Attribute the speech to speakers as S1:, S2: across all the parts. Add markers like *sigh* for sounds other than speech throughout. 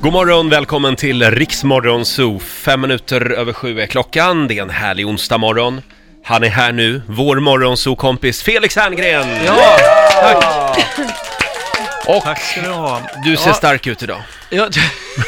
S1: God morgon, välkommen till Riksmorgon Zoo. Fem minuter över sju är klockan. Det är en härlig onsdag morgon. Han är här nu, vår morgonzoo-kompis Felix Herngren!
S2: Ja, tack.
S1: Och
S2: Tack ska du ha.
S1: du ser
S2: Ja.
S1: stark ut idag.
S2: Ja,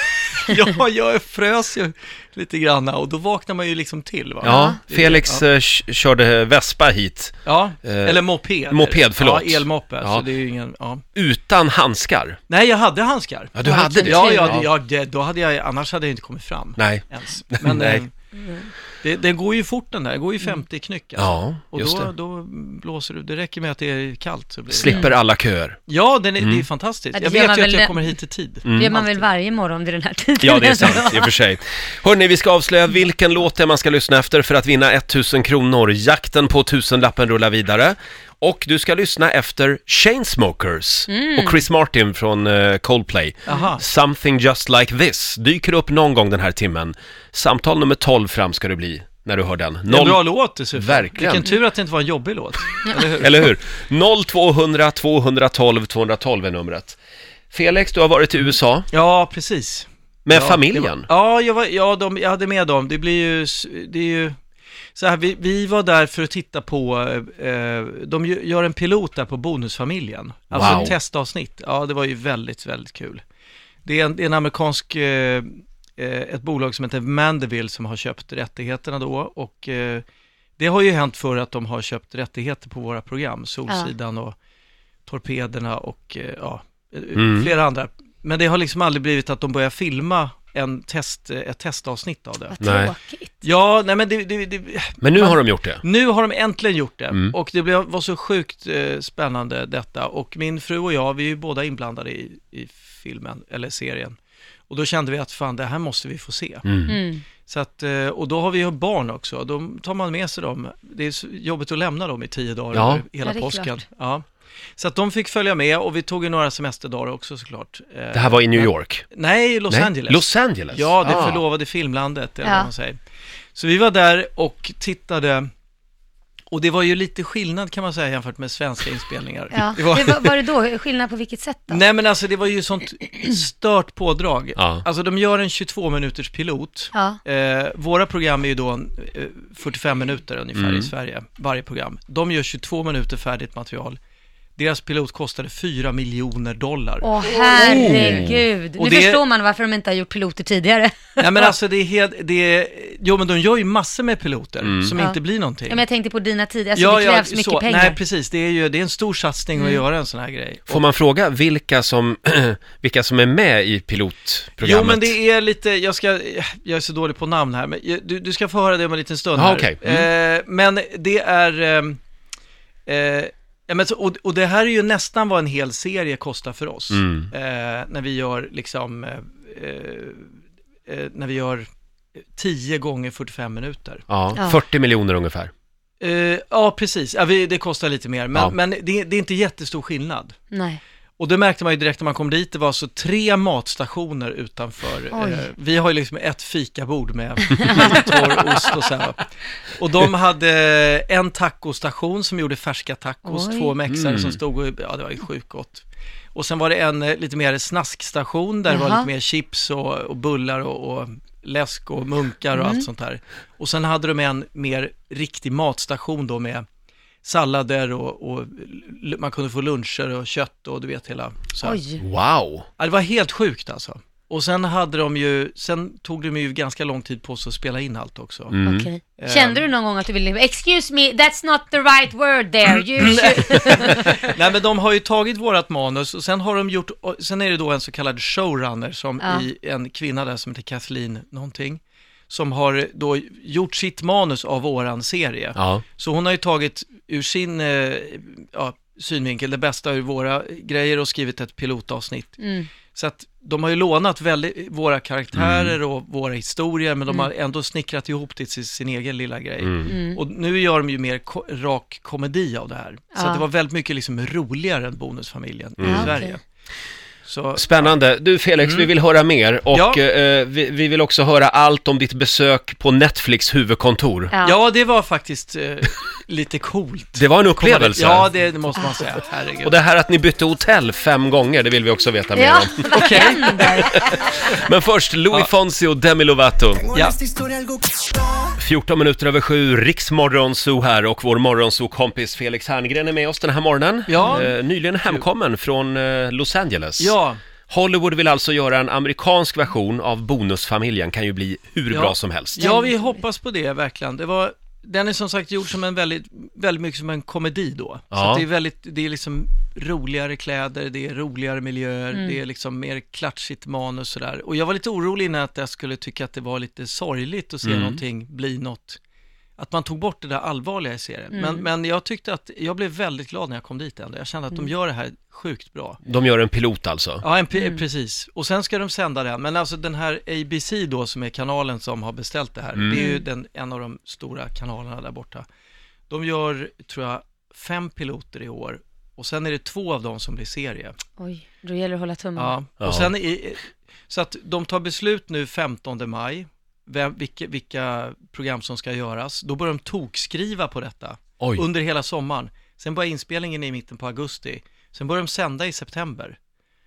S2: *laughs* ja, jag frös ju lite grann och då vaknar man ju liksom till va?
S1: Ja,
S2: Det-
S1: Felix
S2: Ja,
S1: eh, k- körde Vespa hit
S2: ja.
S1: eh,
S2: eller moped.
S1: moped, förlåt.
S2: Ja, elmoppe,
S1: Ja.
S2: så det är ju ingen, ja.
S1: utan handskar.
S2: Nej, jag hade handskar.
S1: Ja, du hade det.
S2: Ja,
S1: Ja.
S2: ja, ja det, då hade jag, annars hade jag inte kommit fram
S1: Nej.
S2: ens.
S1: *laughs*
S2: Men
S1: Nej. Mm.
S2: eh, det, den går ju fort den där, den går ju 50 knyck alltså.
S1: Ja,
S2: Och
S1: just
S2: då,
S1: det.
S2: då blåser du, det räcker med att det är kallt så blir det...
S1: Slipper alla köer.
S2: Ja, den är, det
S1: Mm.
S2: är fantastiskt.
S3: Ja, det
S2: Jag
S3: gör
S2: vet
S3: man
S2: ju att
S3: väl
S2: jag
S3: det-
S2: kommer hit i tid.
S3: Det gör man väl
S2: Alltid.
S3: varje morgon vid den här tiden?
S1: Ja, det är sant i och för sig. Hörni, vi ska avslöja vilken låt det är man ska lyssna efter för att vinna 1000 kronor. Jakten på 1000-lappen rullar vidare. Och du ska lyssna efter Chainsmokers och Chris Martin från eh, Coldplay.
S2: Aha.
S1: Something just like this dyker upp någon gång den här timmen. Samtal nummer 12 fram ska det bli när du hör den.
S2: Det är en
S1: Noll...
S2: bra låt dessutom.
S1: Verkligen.
S2: Vilken tur att det inte var en jobbig låt. Eller hur?
S1: Eller hur? 0200 212 212 är numret. Felix, du har varit i USA
S2: Ja, precis.
S1: med
S2: ja,
S1: familjen.
S2: det Var, ja, jag, var, ja de, jag hade med dem. Det blir ju, s- det är ju så här, vi, vi var där för att titta på, eh, de ju- gör en pilot där på Bonusfamiljen. Alltså
S1: Wow.
S2: ett testavsnitt. Ja, det var ju väldigt, väldigt kul. Det är en, det är en amerikansk, eh, eh, ett bolag som heter Mandeville som har köpt rättigheterna då och eh, det har ju hänt för att de har köpt rättigheter på våra program, Solsidan och Torpederna och eh, ja, eh,
S1: Mm.
S2: flera andra. Men det har liksom aldrig blivit att de börjar filma en test, eh, ett testavsnitt av det.
S3: *laughs* Vad
S1: Nej.
S3: tråkigt.
S2: Ja, nej men det, det, det,
S1: Men nu har de gjort det.
S2: nu har de äntligen gjort det
S1: Mm.
S2: och det blev, var så sjukt eh, spännande detta och min fru och jag, vi är ju båda inblandade i, i filmen eller serien och då kände vi att fan det här måste vi få se.
S1: Mm.
S3: Mm.
S2: Så att, eh, och då har vi ju barn också, då tar man med sig dem. Det är så jobbigt att lämna dem i tio dagar
S1: Ja.
S2: över hela
S3: Ja, det är
S2: påsken.
S3: klart.
S2: Ja. Så att de fick följa med och vi tog ju några semesterdagar också såklart. Eh,
S1: Det här var i New York.
S2: Nej, Los
S1: Nej,
S2: Angeles.
S1: Los Angeles?
S2: Ja, det
S1: Ah.
S2: förlovade filmlandet, eller
S3: Ja.
S2: vad man säger. Så vi var där och tittade, och det var ju lite skillnad kan man säga jämfört med svenska inspelningar.
S3: Ja.
S2: Det var,
S3: Det var, var det då skillnad på vilket sätt då?
S2: nej men alltså det var ju sånt stört pådrag.
S1: Ja.
S2: Alltså de gör en 22 minuters pilot.
S3: Ja.
S2: Eh, våra program är ju då eh, 45 minuter ungefär i Sverige, varje program. De gör 22 minuter färdigt material. Deras pilot kostade 4 miljoner dollar.
S3: Åh herregud,
S2: Oh. Och
S3: nu
S2: det-
S3: förstår man varför de inte har gjort piloter tidigare.
S2: Nej men alltså det är helt, det är, jo men de gör ju massor med piloter som
S3: Ja.
S2: inte blir någonting.
S3: Ja, men jag tänkte på dina tider, alltså det krävs mycket
S2: så.
S3: pengar. Mm.
S2: Nej, precis. Det är ju det är en stor satsning att göra en sån här grej.
S1: Får man fråga vilka som, *clears throat* vilka som är med i pilotprogrammet?
S2: Jo, men det är lite, jag ska, jag är så dålig på namn här, men jag- du, du ska få höra det om en liten stund
S1: Ja,
S2: här.
S1: okej. Mm.
S2: Eh, men det är, ehm, eh, ja, men så, och, och det här är ju nästan vad en hel serie kostar för oss.
S1: Mm.
S2: Eh, när vi gör liksom, eh, eh, eh, när vi gör 10 gånger 45 minuter.
S1: Ja,
S3: Ja.
S1: 40 miljoner ungefär.
S2: Eh, ja, precis. Ja, vi, det kostar lite mer, men,
S1: Ja.
S2: men det, det är inte jättestor skillnad.
S3: Nej.
S2: Och det märkte man ju direkt när man kom dit, det var så tre matstationer utanför.
S3: Oj.
S2: Eh, vi har ju liksom ett fikabord med *laughs* lite torr ost och så här. Och de hade eh, en tacostation som gjorde färska tacos,
S3: Oj.
S2: två mexare
S1: Mm.
S2: som stod och, ja det var ju sjukt gott. Och sen var det en eh, lite mer snackstation där det var
S3: Jaha.
S2: lite mer chips och, och bullar och, och läsk och munkar och
S3: Mm.
S2: allt sånt där. Och sen hade de en mer riktig matstation då med sallader och, och l- man kunde få luncher och kött och du vet hela så här.
S3: Oj.
S1: Wow!
S2: Ja, det var helt sjukt alltså. Och sen hade de ju, sen tog de ju ganska lång tid på sig att spela in allt också.
S1: Mm.
S3: Okej.
S2: Ehm.
S3: Kände du någon gång att du ville, excuse me, that's not the right word there,
S2: Mm.
S3: you should...
S2: *laughs* *laughs* Nej men de har ju tagit vårat manus och sen har de gjort, och sen är det då en så kallad showrunner som
S3: Ja.
S2: i en kvinna där som heter Kathleen någonting, som har då gjort sitt manus av våran serie.
S1: Ja.
S2: Så hon har ju tagit ur sin eh, ja, synvinkel det bästa ur våra grejer och skrivit ett pilotavsnitt.
S3: Mm.
S2: Så att de har ju lånat väldigt, våra karaktärer
S1: Mm.
S2: och våra historier, men de har ändå snickrat ihop det till sin egen lilla grej.
S1: Mm.
S3: Mm.
S2: Och nu gör de ju mer ko- rak komedi av det här. Så
S3: Ja.
S1: Mm.
S2: att det var väldigt mycket liksom roligare än Bonusfamiljen
S3: Ja,
S2: i Sverige.
S3: okej.
S2: Så,
S1: Spännande. Du Felix, vi vill höra mer och
S2: Mm. Ja.
S1: eh, vi, vi vill också höra allt om ditt besök på Netflix huvudkontor.
S2: ja, det var faktiskt eh, lite coolt.
S1: Det var en
S2: Komma dit.
S1: upplevelse.
S2: Ja, det, det måste man säga. Herregud.
S1: Och det här att ni bytte hotell fem gånger, det vill vi också veta mer
S3: Ja,
S1: om.
S3: *laughs* vad händer?
S1: Men först Louis
S2: Ja.
S1: Fonsi och Demi Lovato.
S2: Ja.
S1: 14 minuter över sju, Riksmorgonzoo här och vår morgonzoo-kompis Felix Herngren är med oss den här morgonen.
S2: Ja.
S1: Eh, nyligen hemkommen från eh, Los Angeles.
S2: Ja,
S1: Hollywood vill alltså göra en amerikansk version av Bonusfamiljen, kan ju bli hur
S2: Ja.
S1: bra som helst.
S2: ja, vi hoppas på det verkligen. Det var, den är som sagt gjord som en väldigt, väldigt mycket som en komedi då. Så
S1: Ja.
S2: att det är väldigt, det är liksom roligare kläder, det är roligare miljöer, det är liksom mer klatschigt manus sådär. Och jag var lite orolig innan att jag skulle tycka att det var lite sorgligt att se någonting bli något, att man tog bort det där allvarliga i serien. Men, men jag tyckte att, jag blev väldigt glad när jag kom dit ändå. Jag kände att de gör det här sjukt bra.
S1: De gör en pilot alltså.
S2: Ja, en, p- precis. Och sen ska de sända den. Men alltså den här ABC då, som är kanalen som har beställt det här, det är ju den, en av de stora kanalerna där borta. De gör, tror jag, fem piloter i år och sen är det två av dem som blir serie.
S3: Oj, då gäller det att hålla tummen.
S2: Ja.
S1: Ja.
S2: Och sen i, så att de tar beslut nu 15 maj, vem, vilka, vilka program som ska göras. Då börjar de tokskriva på detta
S1: Oj.
S2: under hela sommaren. Sen börjar inspelningen i mitten på augusti. Sen börjar de sända i september.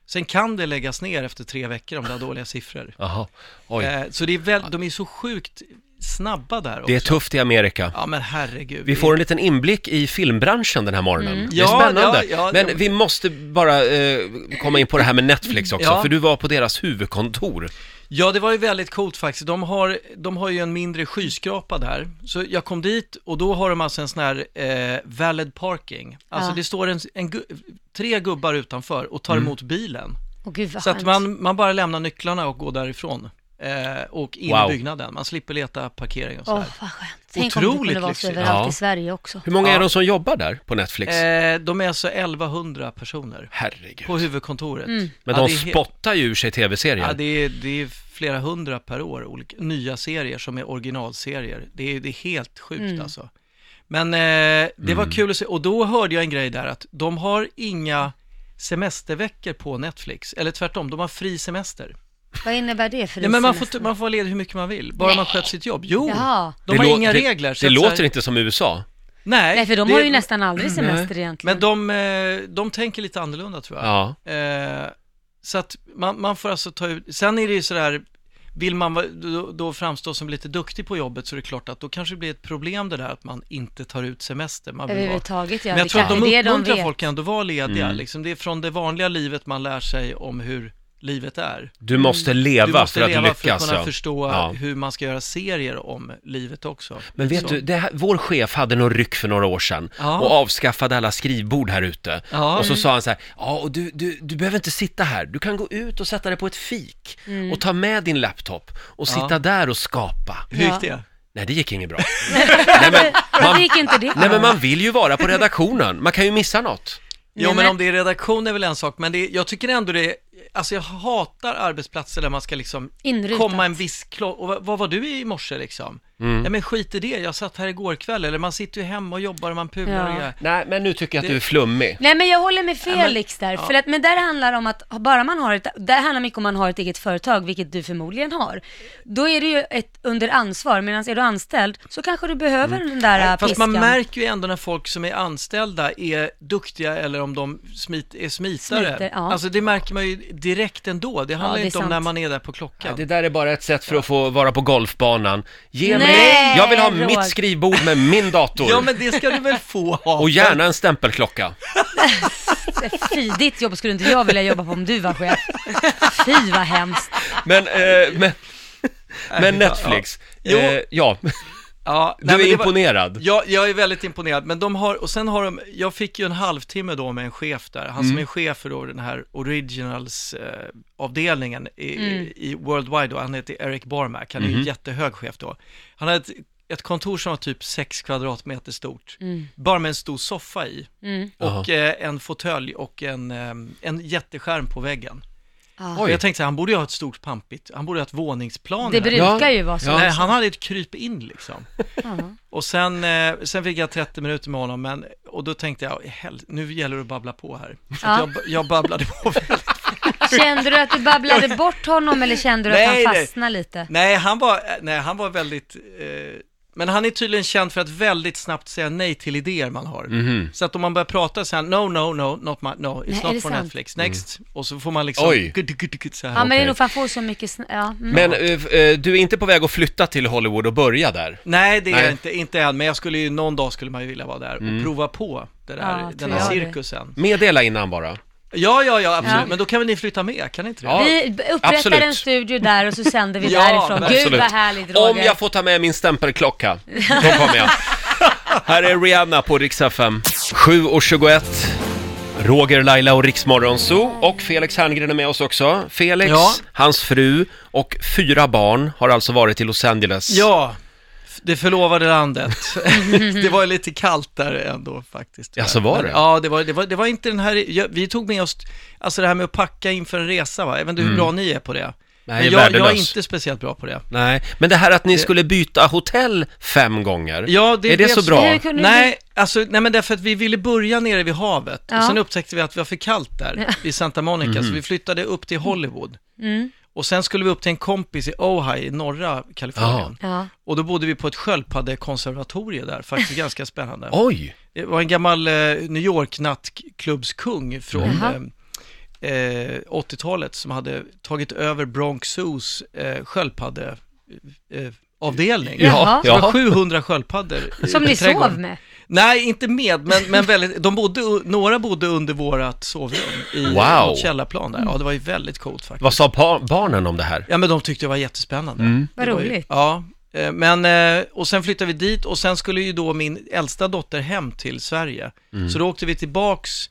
S2: Sen kan det läggas ner efter tre veckor om det har dåliga siffror.
S1: Jaha. Oj.
S2: Eh, så det är väl, de är så sjukt snabba där också.
S1: Det är tufft i Amerika.
S2: Ja men herregud.
S1: Vi får en liten inblick i filmbranschen den här morgonen. Det är
S2: Mm. Ja,
S1: spännande.
S2: ja, ja,
S1: Men
S2: ja.
S1: vi måste bara eh, komma in på det här med Netflix också,
S2: Ja.
S1: för du var på deras huvudkontor.
S2: Ja, det var ju väldigt coolt faktiskt. De har, de har ju en mindre skyskrapa där. Så jag kom dit och då har de alltså en sån här eh, valid parking. Alltså
S3: Ja.
S2: det står en, en, gu- tre gubbar utanför och
S1: Mm.
S2: tar emot bilen.
S3: Åh, gud vad
S2: Så att
S3: skönt.
S2: man, man bara lämnar nycklarna och går därifrån. Eh, och in
S1: Wow.
S2: i byggnaden. Man slipper leta parkering och
S3: Åh,
S2: sådär.
S3: vad skönt. Tänk om det kunde
S2: Otroligt
S3: vara så
S2: lyxigt.
S3: överallt
S1: Ja.
S3: i Sverige också.
S1: Hur många
S2: Ja.
S1: är de som jobbar där på Netflix?
S2: Eh, de är alltså 1100 personer
S1: Herregud.
S2: på huvudkontoret.
S3: Mm.
S1: Men
S2: Ja,
S1: de
S2: det är he-
S1: spottar ju ur sig
S2: Ja,
S1: tv-serier.
S2: det är, det är flera hundra per år, olika, nya serier som är originalserier. Det är, det är helt sjukt
S3: Mm.
S2: alltså. Men eh, det
S1: Mm.
S2: var kul att se, och då hörde jag en grej där att de har inga semesterveckor på Netflix, eller tvärtom, de har fri semester.
S3: Vad innebär det för
S2: Nej,
S3: en
S2: men man får,
S3: semester?
S2: t- man får vara ledig hur mycket man vill, bara man sköter sitt jobb. Jo,
S3: Jaha.
S2: de har
S1: lå-
S2: inga
S1: det,
S2: regler.
S1: Det,
S2: så att så här-
S1: låter inte som USA.
S2: Nej,
S3: Nej, för de
S2: det-
S3: har ju nästan aldrig semester egentligen.
S2: Men de, eh, de tänker lite annorlunda tror jag.
S1: Ja.
S2: Eh, så att man, man får alltså ta ut, sen är det ju sådär, vill man va- då, då framstå som lite duktig på jobbet så är det klart att då kanske det blir ett problem det där att man inte tar ut semester. Man vill vara.
S3: Överhuvudtaget, ja.
S2: Men jag
S3: Det
S2: tror att de
S3: kanske är det
S2: uppmuntrar
S3: vet.
S2: folk ändå att vara lediga.
S1: Mm.
S2: Liksom, det är från det vanliga livet man lär sig om hur livet är.
S1: Du måste leva
S2: Du måste
S1: för att
S2: leva
S1: lyckas.
S2: för att kunna
S1: ja.
S2: förstå
S1: Ja.
S2: hur man ska göra serier om livet också.
S1: Men vet
S2: Så.
S1: du, det här, vår chef hade någon ryck för några år sedan
S2: Ja.
S1: och avskaffade alla skrivbord här ute.
S2: Ja. Mm.
S1: Och så sa han så här, ja och du, du, du behöver inte sitta här, du kan gå ut och sätta dig på ett fik och ta med din laptop och
S2: Mm. Ja.
S1: sitta där och skapa.
S2: Hur
S3: Ja.
S2: gick det?
S1: Nej, det gick inget
S2: *laughs*
S1: bra. nej, men
S3: Varför
S1: man,
S3: gick inte det?
S1: nej, men man vill ju vara på redaktionen, man kan ju missa något.
S2: Jo,
S3: Nej,
S2: men
S3: men-
S2: om det är redaktion är väl en sak, men det, jag tycker ändå det är, alltså jag hatar arbetsplatser där man ska liksom
S3: Inrutat.
S2: komma en viss klock, och vad, vad var du i morse liksom?
S1: Mm.
S2: Nej men skit i det, jag satt här igår kväll, eller man sitter ju hemma och jobbar och man pular
S3: Ja.
S2: och grejer.
S1: Nej, men nu tycker jag att du är flummig.
S3: Nej men jag håller med Felix där,
S2: ja.
S3: för att, men där handlar det om att, bara man har ett, där handlar mycket om man har ett eget företag, vilket du förmodligen har. Då är det ju ett under ansvar, medan är du anställd så kanske du behöver den där äh,
S2: Mm. Fast
S3: piskan.
S2: man märker ju ändå när folk som är anställda är duktiga eller om de smit, är smitare.
S3: Smiter, ja.
S2: Alltså det märker man ju direkt ändå, det handlar
S3: det är
S2: inte om
S3: sant.
S2: när man är där på klockan.
S1: Det där är bara ett sätt för att få vara på golfbanan. Ge mig,
S3: Nej,
S1: jag vill ha
S3: Roger.
S1: mitt skrivbord med min dator.
S2: Ja men det ska du väl få ha?
S1: Och gärna en stämpelklocka.
S3: Äh, Fy, ditt jobb skulle inte jag vilja jobba på om du var chef. Fy vad hemskt.
S1: Men, eh, men, men Netflix,
S2: Jo.
S1: eh, ja,
S2: Ja,
S1: du
S2: nej, men
S1: är
S2: det var-
S1: imponerad.
S2: Ja, jag är väldigt imponerad, men de har, och sen har de, jag fick ju en halvtimme då med en chef där, han som är chef för då den här Originals-avdelningen i, i Worldwide då, han heter Eric Barmack, han är ju en jättehög chef då. Han hade ett, ett kontor som var typ 6 kvadratmeter stort, bara med en stor soffa i, och eh, en fåtölj och en, eh, en jätteskärm på väggen.
S3: Ja.
S2: Och jag tänkte så här, han borde ju ha ett stort pampigt, han borde ha ett våningsplan.
S3: Det
S2: här.
S3: brukar
S1: Ja.
S3: ju vara så.
S1: Ja.
S2: Nej,
S3: också.
S2: han hade ett kryp in liksom.
S3: Ja.
S2: Och sen, eh, sen fick jag 30 minuter med honom, men, och då tänkte jag, "Hel- nu gäller det att babbla på här. Så
S3: Ja. *laughs*
S2: att jag, jag babblade på väldigt
S3: Kände du att du babblade bort honom eller kände du
S2: Nej,
S3: att han
S2: nej.
S3: fastnade lite?
S2: Nej, han var, nej, han var väldigt... Eh, men han är tydligen känd för att väldigt snabbt säga nej till idéer man har.
S1: Mhm.
S2: Så att om man börjar prata så här, no, no, no, not my, no,
S3: Nej,
S2: it's
S3: är det
S2: not for
S3: sant?
S2: Netflix, next. Och så får man liksom...
S1: Mm. Oj.
S2: gud, gud, gud, Så här.
S3: Ja, men det är
S1: okej.
S3: nog för han får så mycket sn- ja. mm.
S1: Men eh, eh, du är inte på väg att flytta till Hollywood och börja där?
S2: Nej, det är
S1: Nej. Mm.
S2: jag inte, inte än, men jag skulle ju, någon dag skulle man ju vilja vara där och prova på det där,
S3: Ja,
S2: den
S3: tror
S2: här
S3: jag det.
S2: cirkusen.
S1: Meddela innan bara.
S2: Ja, ja, ja, absolut.
S3: Ja.
S2: Men då kan väl ni flytta med, kan ni inte det?
S1: Ja.
S3: Vi b- upprättar
S1: absolut.
S3: en studio där och så sänder vi
S2: *laughs* Ja,
S3: därifrån.
S2: men-
S3: Gud vad härligt Roger.
S1: Om jag får ta med min stämpelklocka, då kommer
S3: *laughs*
S1: jag. Här är Rihanna på Rix FM. 7.21. Roger, Laila och Riksmorgon Zoo och Felix Herngren är med oss också. Felix,
S2: Ja.
S1: hans fru och fyra barn har alltså varit i Los Angeles.
S2: Ja, f- det förlovade landet. *laughs* det var ju lite kallt där ändå faktiskt.
S1: Jaså, var
S2: Men,
S1: det?
S2: Ja, det var, det, var, det var inte den här, jag- vi tog med oss, alltså det här med att packa inför en resa va, jag vet inte hur bra ni är på det.
S1: Mm. Nej,
S2: Men jag, jag är
S1: värdelös.
S2: inte speciellt bra på det.
S1: Nej, men det här att ni skulle byta hotell fem gånger,
S2: Ja, det
S1: är det
S2: blev
S1: så
S2: så-
S1: bra?
S3: Hur kunde du-
S2: Nej, alltså, nej men därför att vi ville börja nere vid havet
S3: Ja.
S2: och sen upptäckte vi att det var för kallt där vid Santa Monica
S1: Mm.
S2: så vi flyttade upp till Hollywood.
S3: Mm.
S2: Och sen skulle vi upp till en kompis i Ojai i norra Kalifornien.
S3: Ja.
S2: Och då bodde vi på ett sköldpaddekonservatorium där,
S3: *laughs*
S2: faktiskt ganska spännande.
S1: Oj!
S2: Det var en gammal eh, New York-nattklubbskung från
S3: Jaha.
S2: eh, eh, 80-talet som hade tagit över Bronx Zoos eh, sköldpadde eh, avdelning.
S3: Jaha.
S2: Så det var
S1: ja.
S2: 700 sköldpaddor i-
S3: Som
S2: i
S3: ni
S2: trädgården.
S3: sov med.
S2: Nej, inte med, men, men väldigt, de bodde, u- några bodde under vårat sovrum i
S1: Wow.
S2: wow. källarplan där. Ja, det var ju väldigt coolt faktiskt.
S1: Vad sa bar- barnen om det här?
S2: Ja, men de tyckte det var jättespännande.
S3: Vad
S2: Det var ju-
S3: roligt.
S2: Ja, eh, men eh, och sen flyttade vi dit och sen skulle ju då min äldsta dotter hem till Sverige. Så då åkte vi tillbaks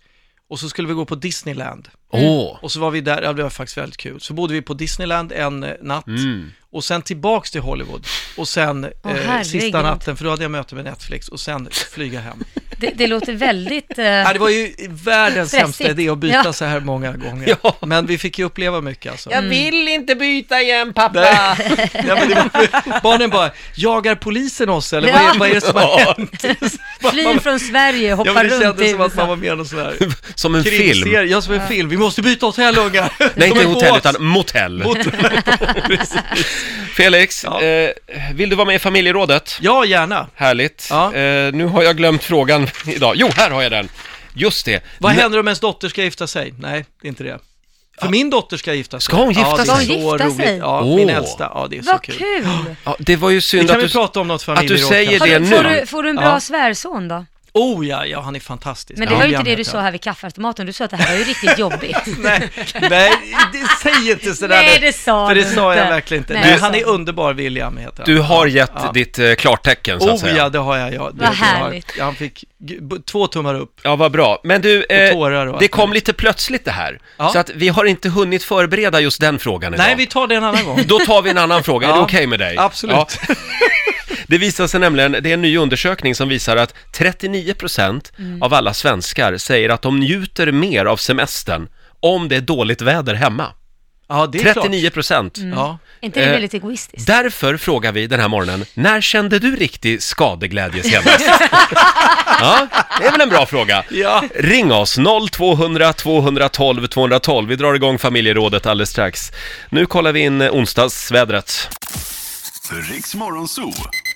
S2: och så skulle vi gå på Disneyland.
S1: Åh!
S2: Och så var vi där, ja, det var faktiskt väldigt kul. Så bodde vi på Disneyland en eh, natt och sen tillbaks till Hollywood och sen
S3: Åh,
S2: eh, sista
S3: herregud.
S2: natten, för då hade jag möte med Netflix och sen flyga
S3: *laughs*
S2: hem.
S3: Det, det låter väldigt...
S2: *laughs*
S3: eh,
S2: Ja, det var ju världens
S3: Stressigt.
S2: sämsta idé att byta
S3: Ja.
S2: så här många gånger.
S1: Ja.
S2: Men vi fick ju uppleva mycket alltså.
S1: vill inte byta igen pappa! *laughs*
S2: Ja, men det var, barnen bara, jagar polisen oss eller vad,
S3: Ja.
S2: är, vad är det som har hänt?
S3: Flyr från Sverige,
S2: Ja,
S3: hoppar
S2: men det
S3: runt
S2: kändes
S3: i
S2: som att man
S3: USA.
S2: var med i någon
S1: *laughs*
S2: sån här
S1: Som en film.
S2: krimserie. Ja, som en film. Vi måste byta hotell ungar.
S1: Nej,
S2: Kom
S1: inte
S2: ihåg
S1: hotell
S2: oss.
S1: utan motell.
S2: Mot- *laughs*
S1: Felix,
S2: Ja.
S1: eh, vill du vara med i familjerådet?
S2: Ja, gärna.
S1: Härligt.
S2: Ja.
S1: Eh, nu har jag glömt frågan *laughs* idag. Jo, här har jag den. Just det.
S2: Vad
S1: N-
S2: händer om ens dotter ska gifta sig? Nej, det är inte det. För min dotter ska gifta sig.
S1: Ska hon gifta
S2: ja, det är
S1: sig?
S2: så
S3: Ska hon gifta
S2: roligt.
S3: sig?
S2: Ja, min
S1: Åh.
S2: äldsta. Ja, det är så
S3: Vad
S2: kul.
S3: kul!
S1: Ja, det var ju
S2: Vi
S1: synd
S2: kan
S1: att du...
S2: väl prata om något
S1: att du
S2: familjeråd
S1: säger
S2: kanske.
S3: Har
S1: det
S3: du,
S1: nu
S3: får,
S1: då?
S3: du, får du en bra
S2: Ja.
S3: svärson då?
S2: Oh ja, ja, han är fantastisk.
S3: Men det var ju inte det du
S2: Ja.
S3: sa här vid kaffeautomaten, du sa att det här var ju riktigt jobbigt.
S2: *laughs* Nej, nej, *laughs* det- säg inte sådär.
S3: Nej,
S2: nu.
S3: det sa
S2: För det
S3: du
S2: sa jag
S3: inte.
S2: verkligen inte.
S3: Nej,
S2: Nej,
S3: det
S2: han
S3: sa
S2: är
S3: du.
S2: underbar, William heter han.
S1: Du har gett
S2: Ja.
S1: ditt eh, klartecken, så att
S2: Oh
S1: säga.
S2: ja, det har jag. Ja, det,
S3: Vad
S2: det har jag.
S3: härligt.
S2: Han fick g- b- två tummar upp.
S1: Ja, vad bra. Men du, eh,
S2: Och tårar och
S1: det
S2: allt
S1: kom lite plötsligt det här.
S2: Ja.
S1: Så att vi har inte hunnit förbereda just den frågan idag.
S2: Nej, vi tar det en annan gång.
S1: Då tar vi en annan fråga, är
S2: Ja.
S1: det okej med dig?
S2: Absolut.
S1: Ja. *laughs* Det visar sig nämligen, det är en ny undersökning som visar att 39%
S2: Mm.
S1: av alla svenskar säger att de njuter mer av semestern om det är dåligt väder hemma.
S2: Ja, det är
S1: 39
S2: klart. Mm.
S1: procent.
S2: Ja.
S3: Är inte det
S1: Eh,
S3: väldigt egoistiskt?
S1: Därför frågar vi den här morgonen, när kände du riktig skadeglädje
S2: *laughs*
S1: senast? ja, det är väl en bra fråga.
S2: Ja.
S1: Ring oss, 0200 212 212. Vi drar igång familjerådet alldeles strax. Nu kollar vi in eh, onsdagsvädret.
S4: Riks Morgonzoo.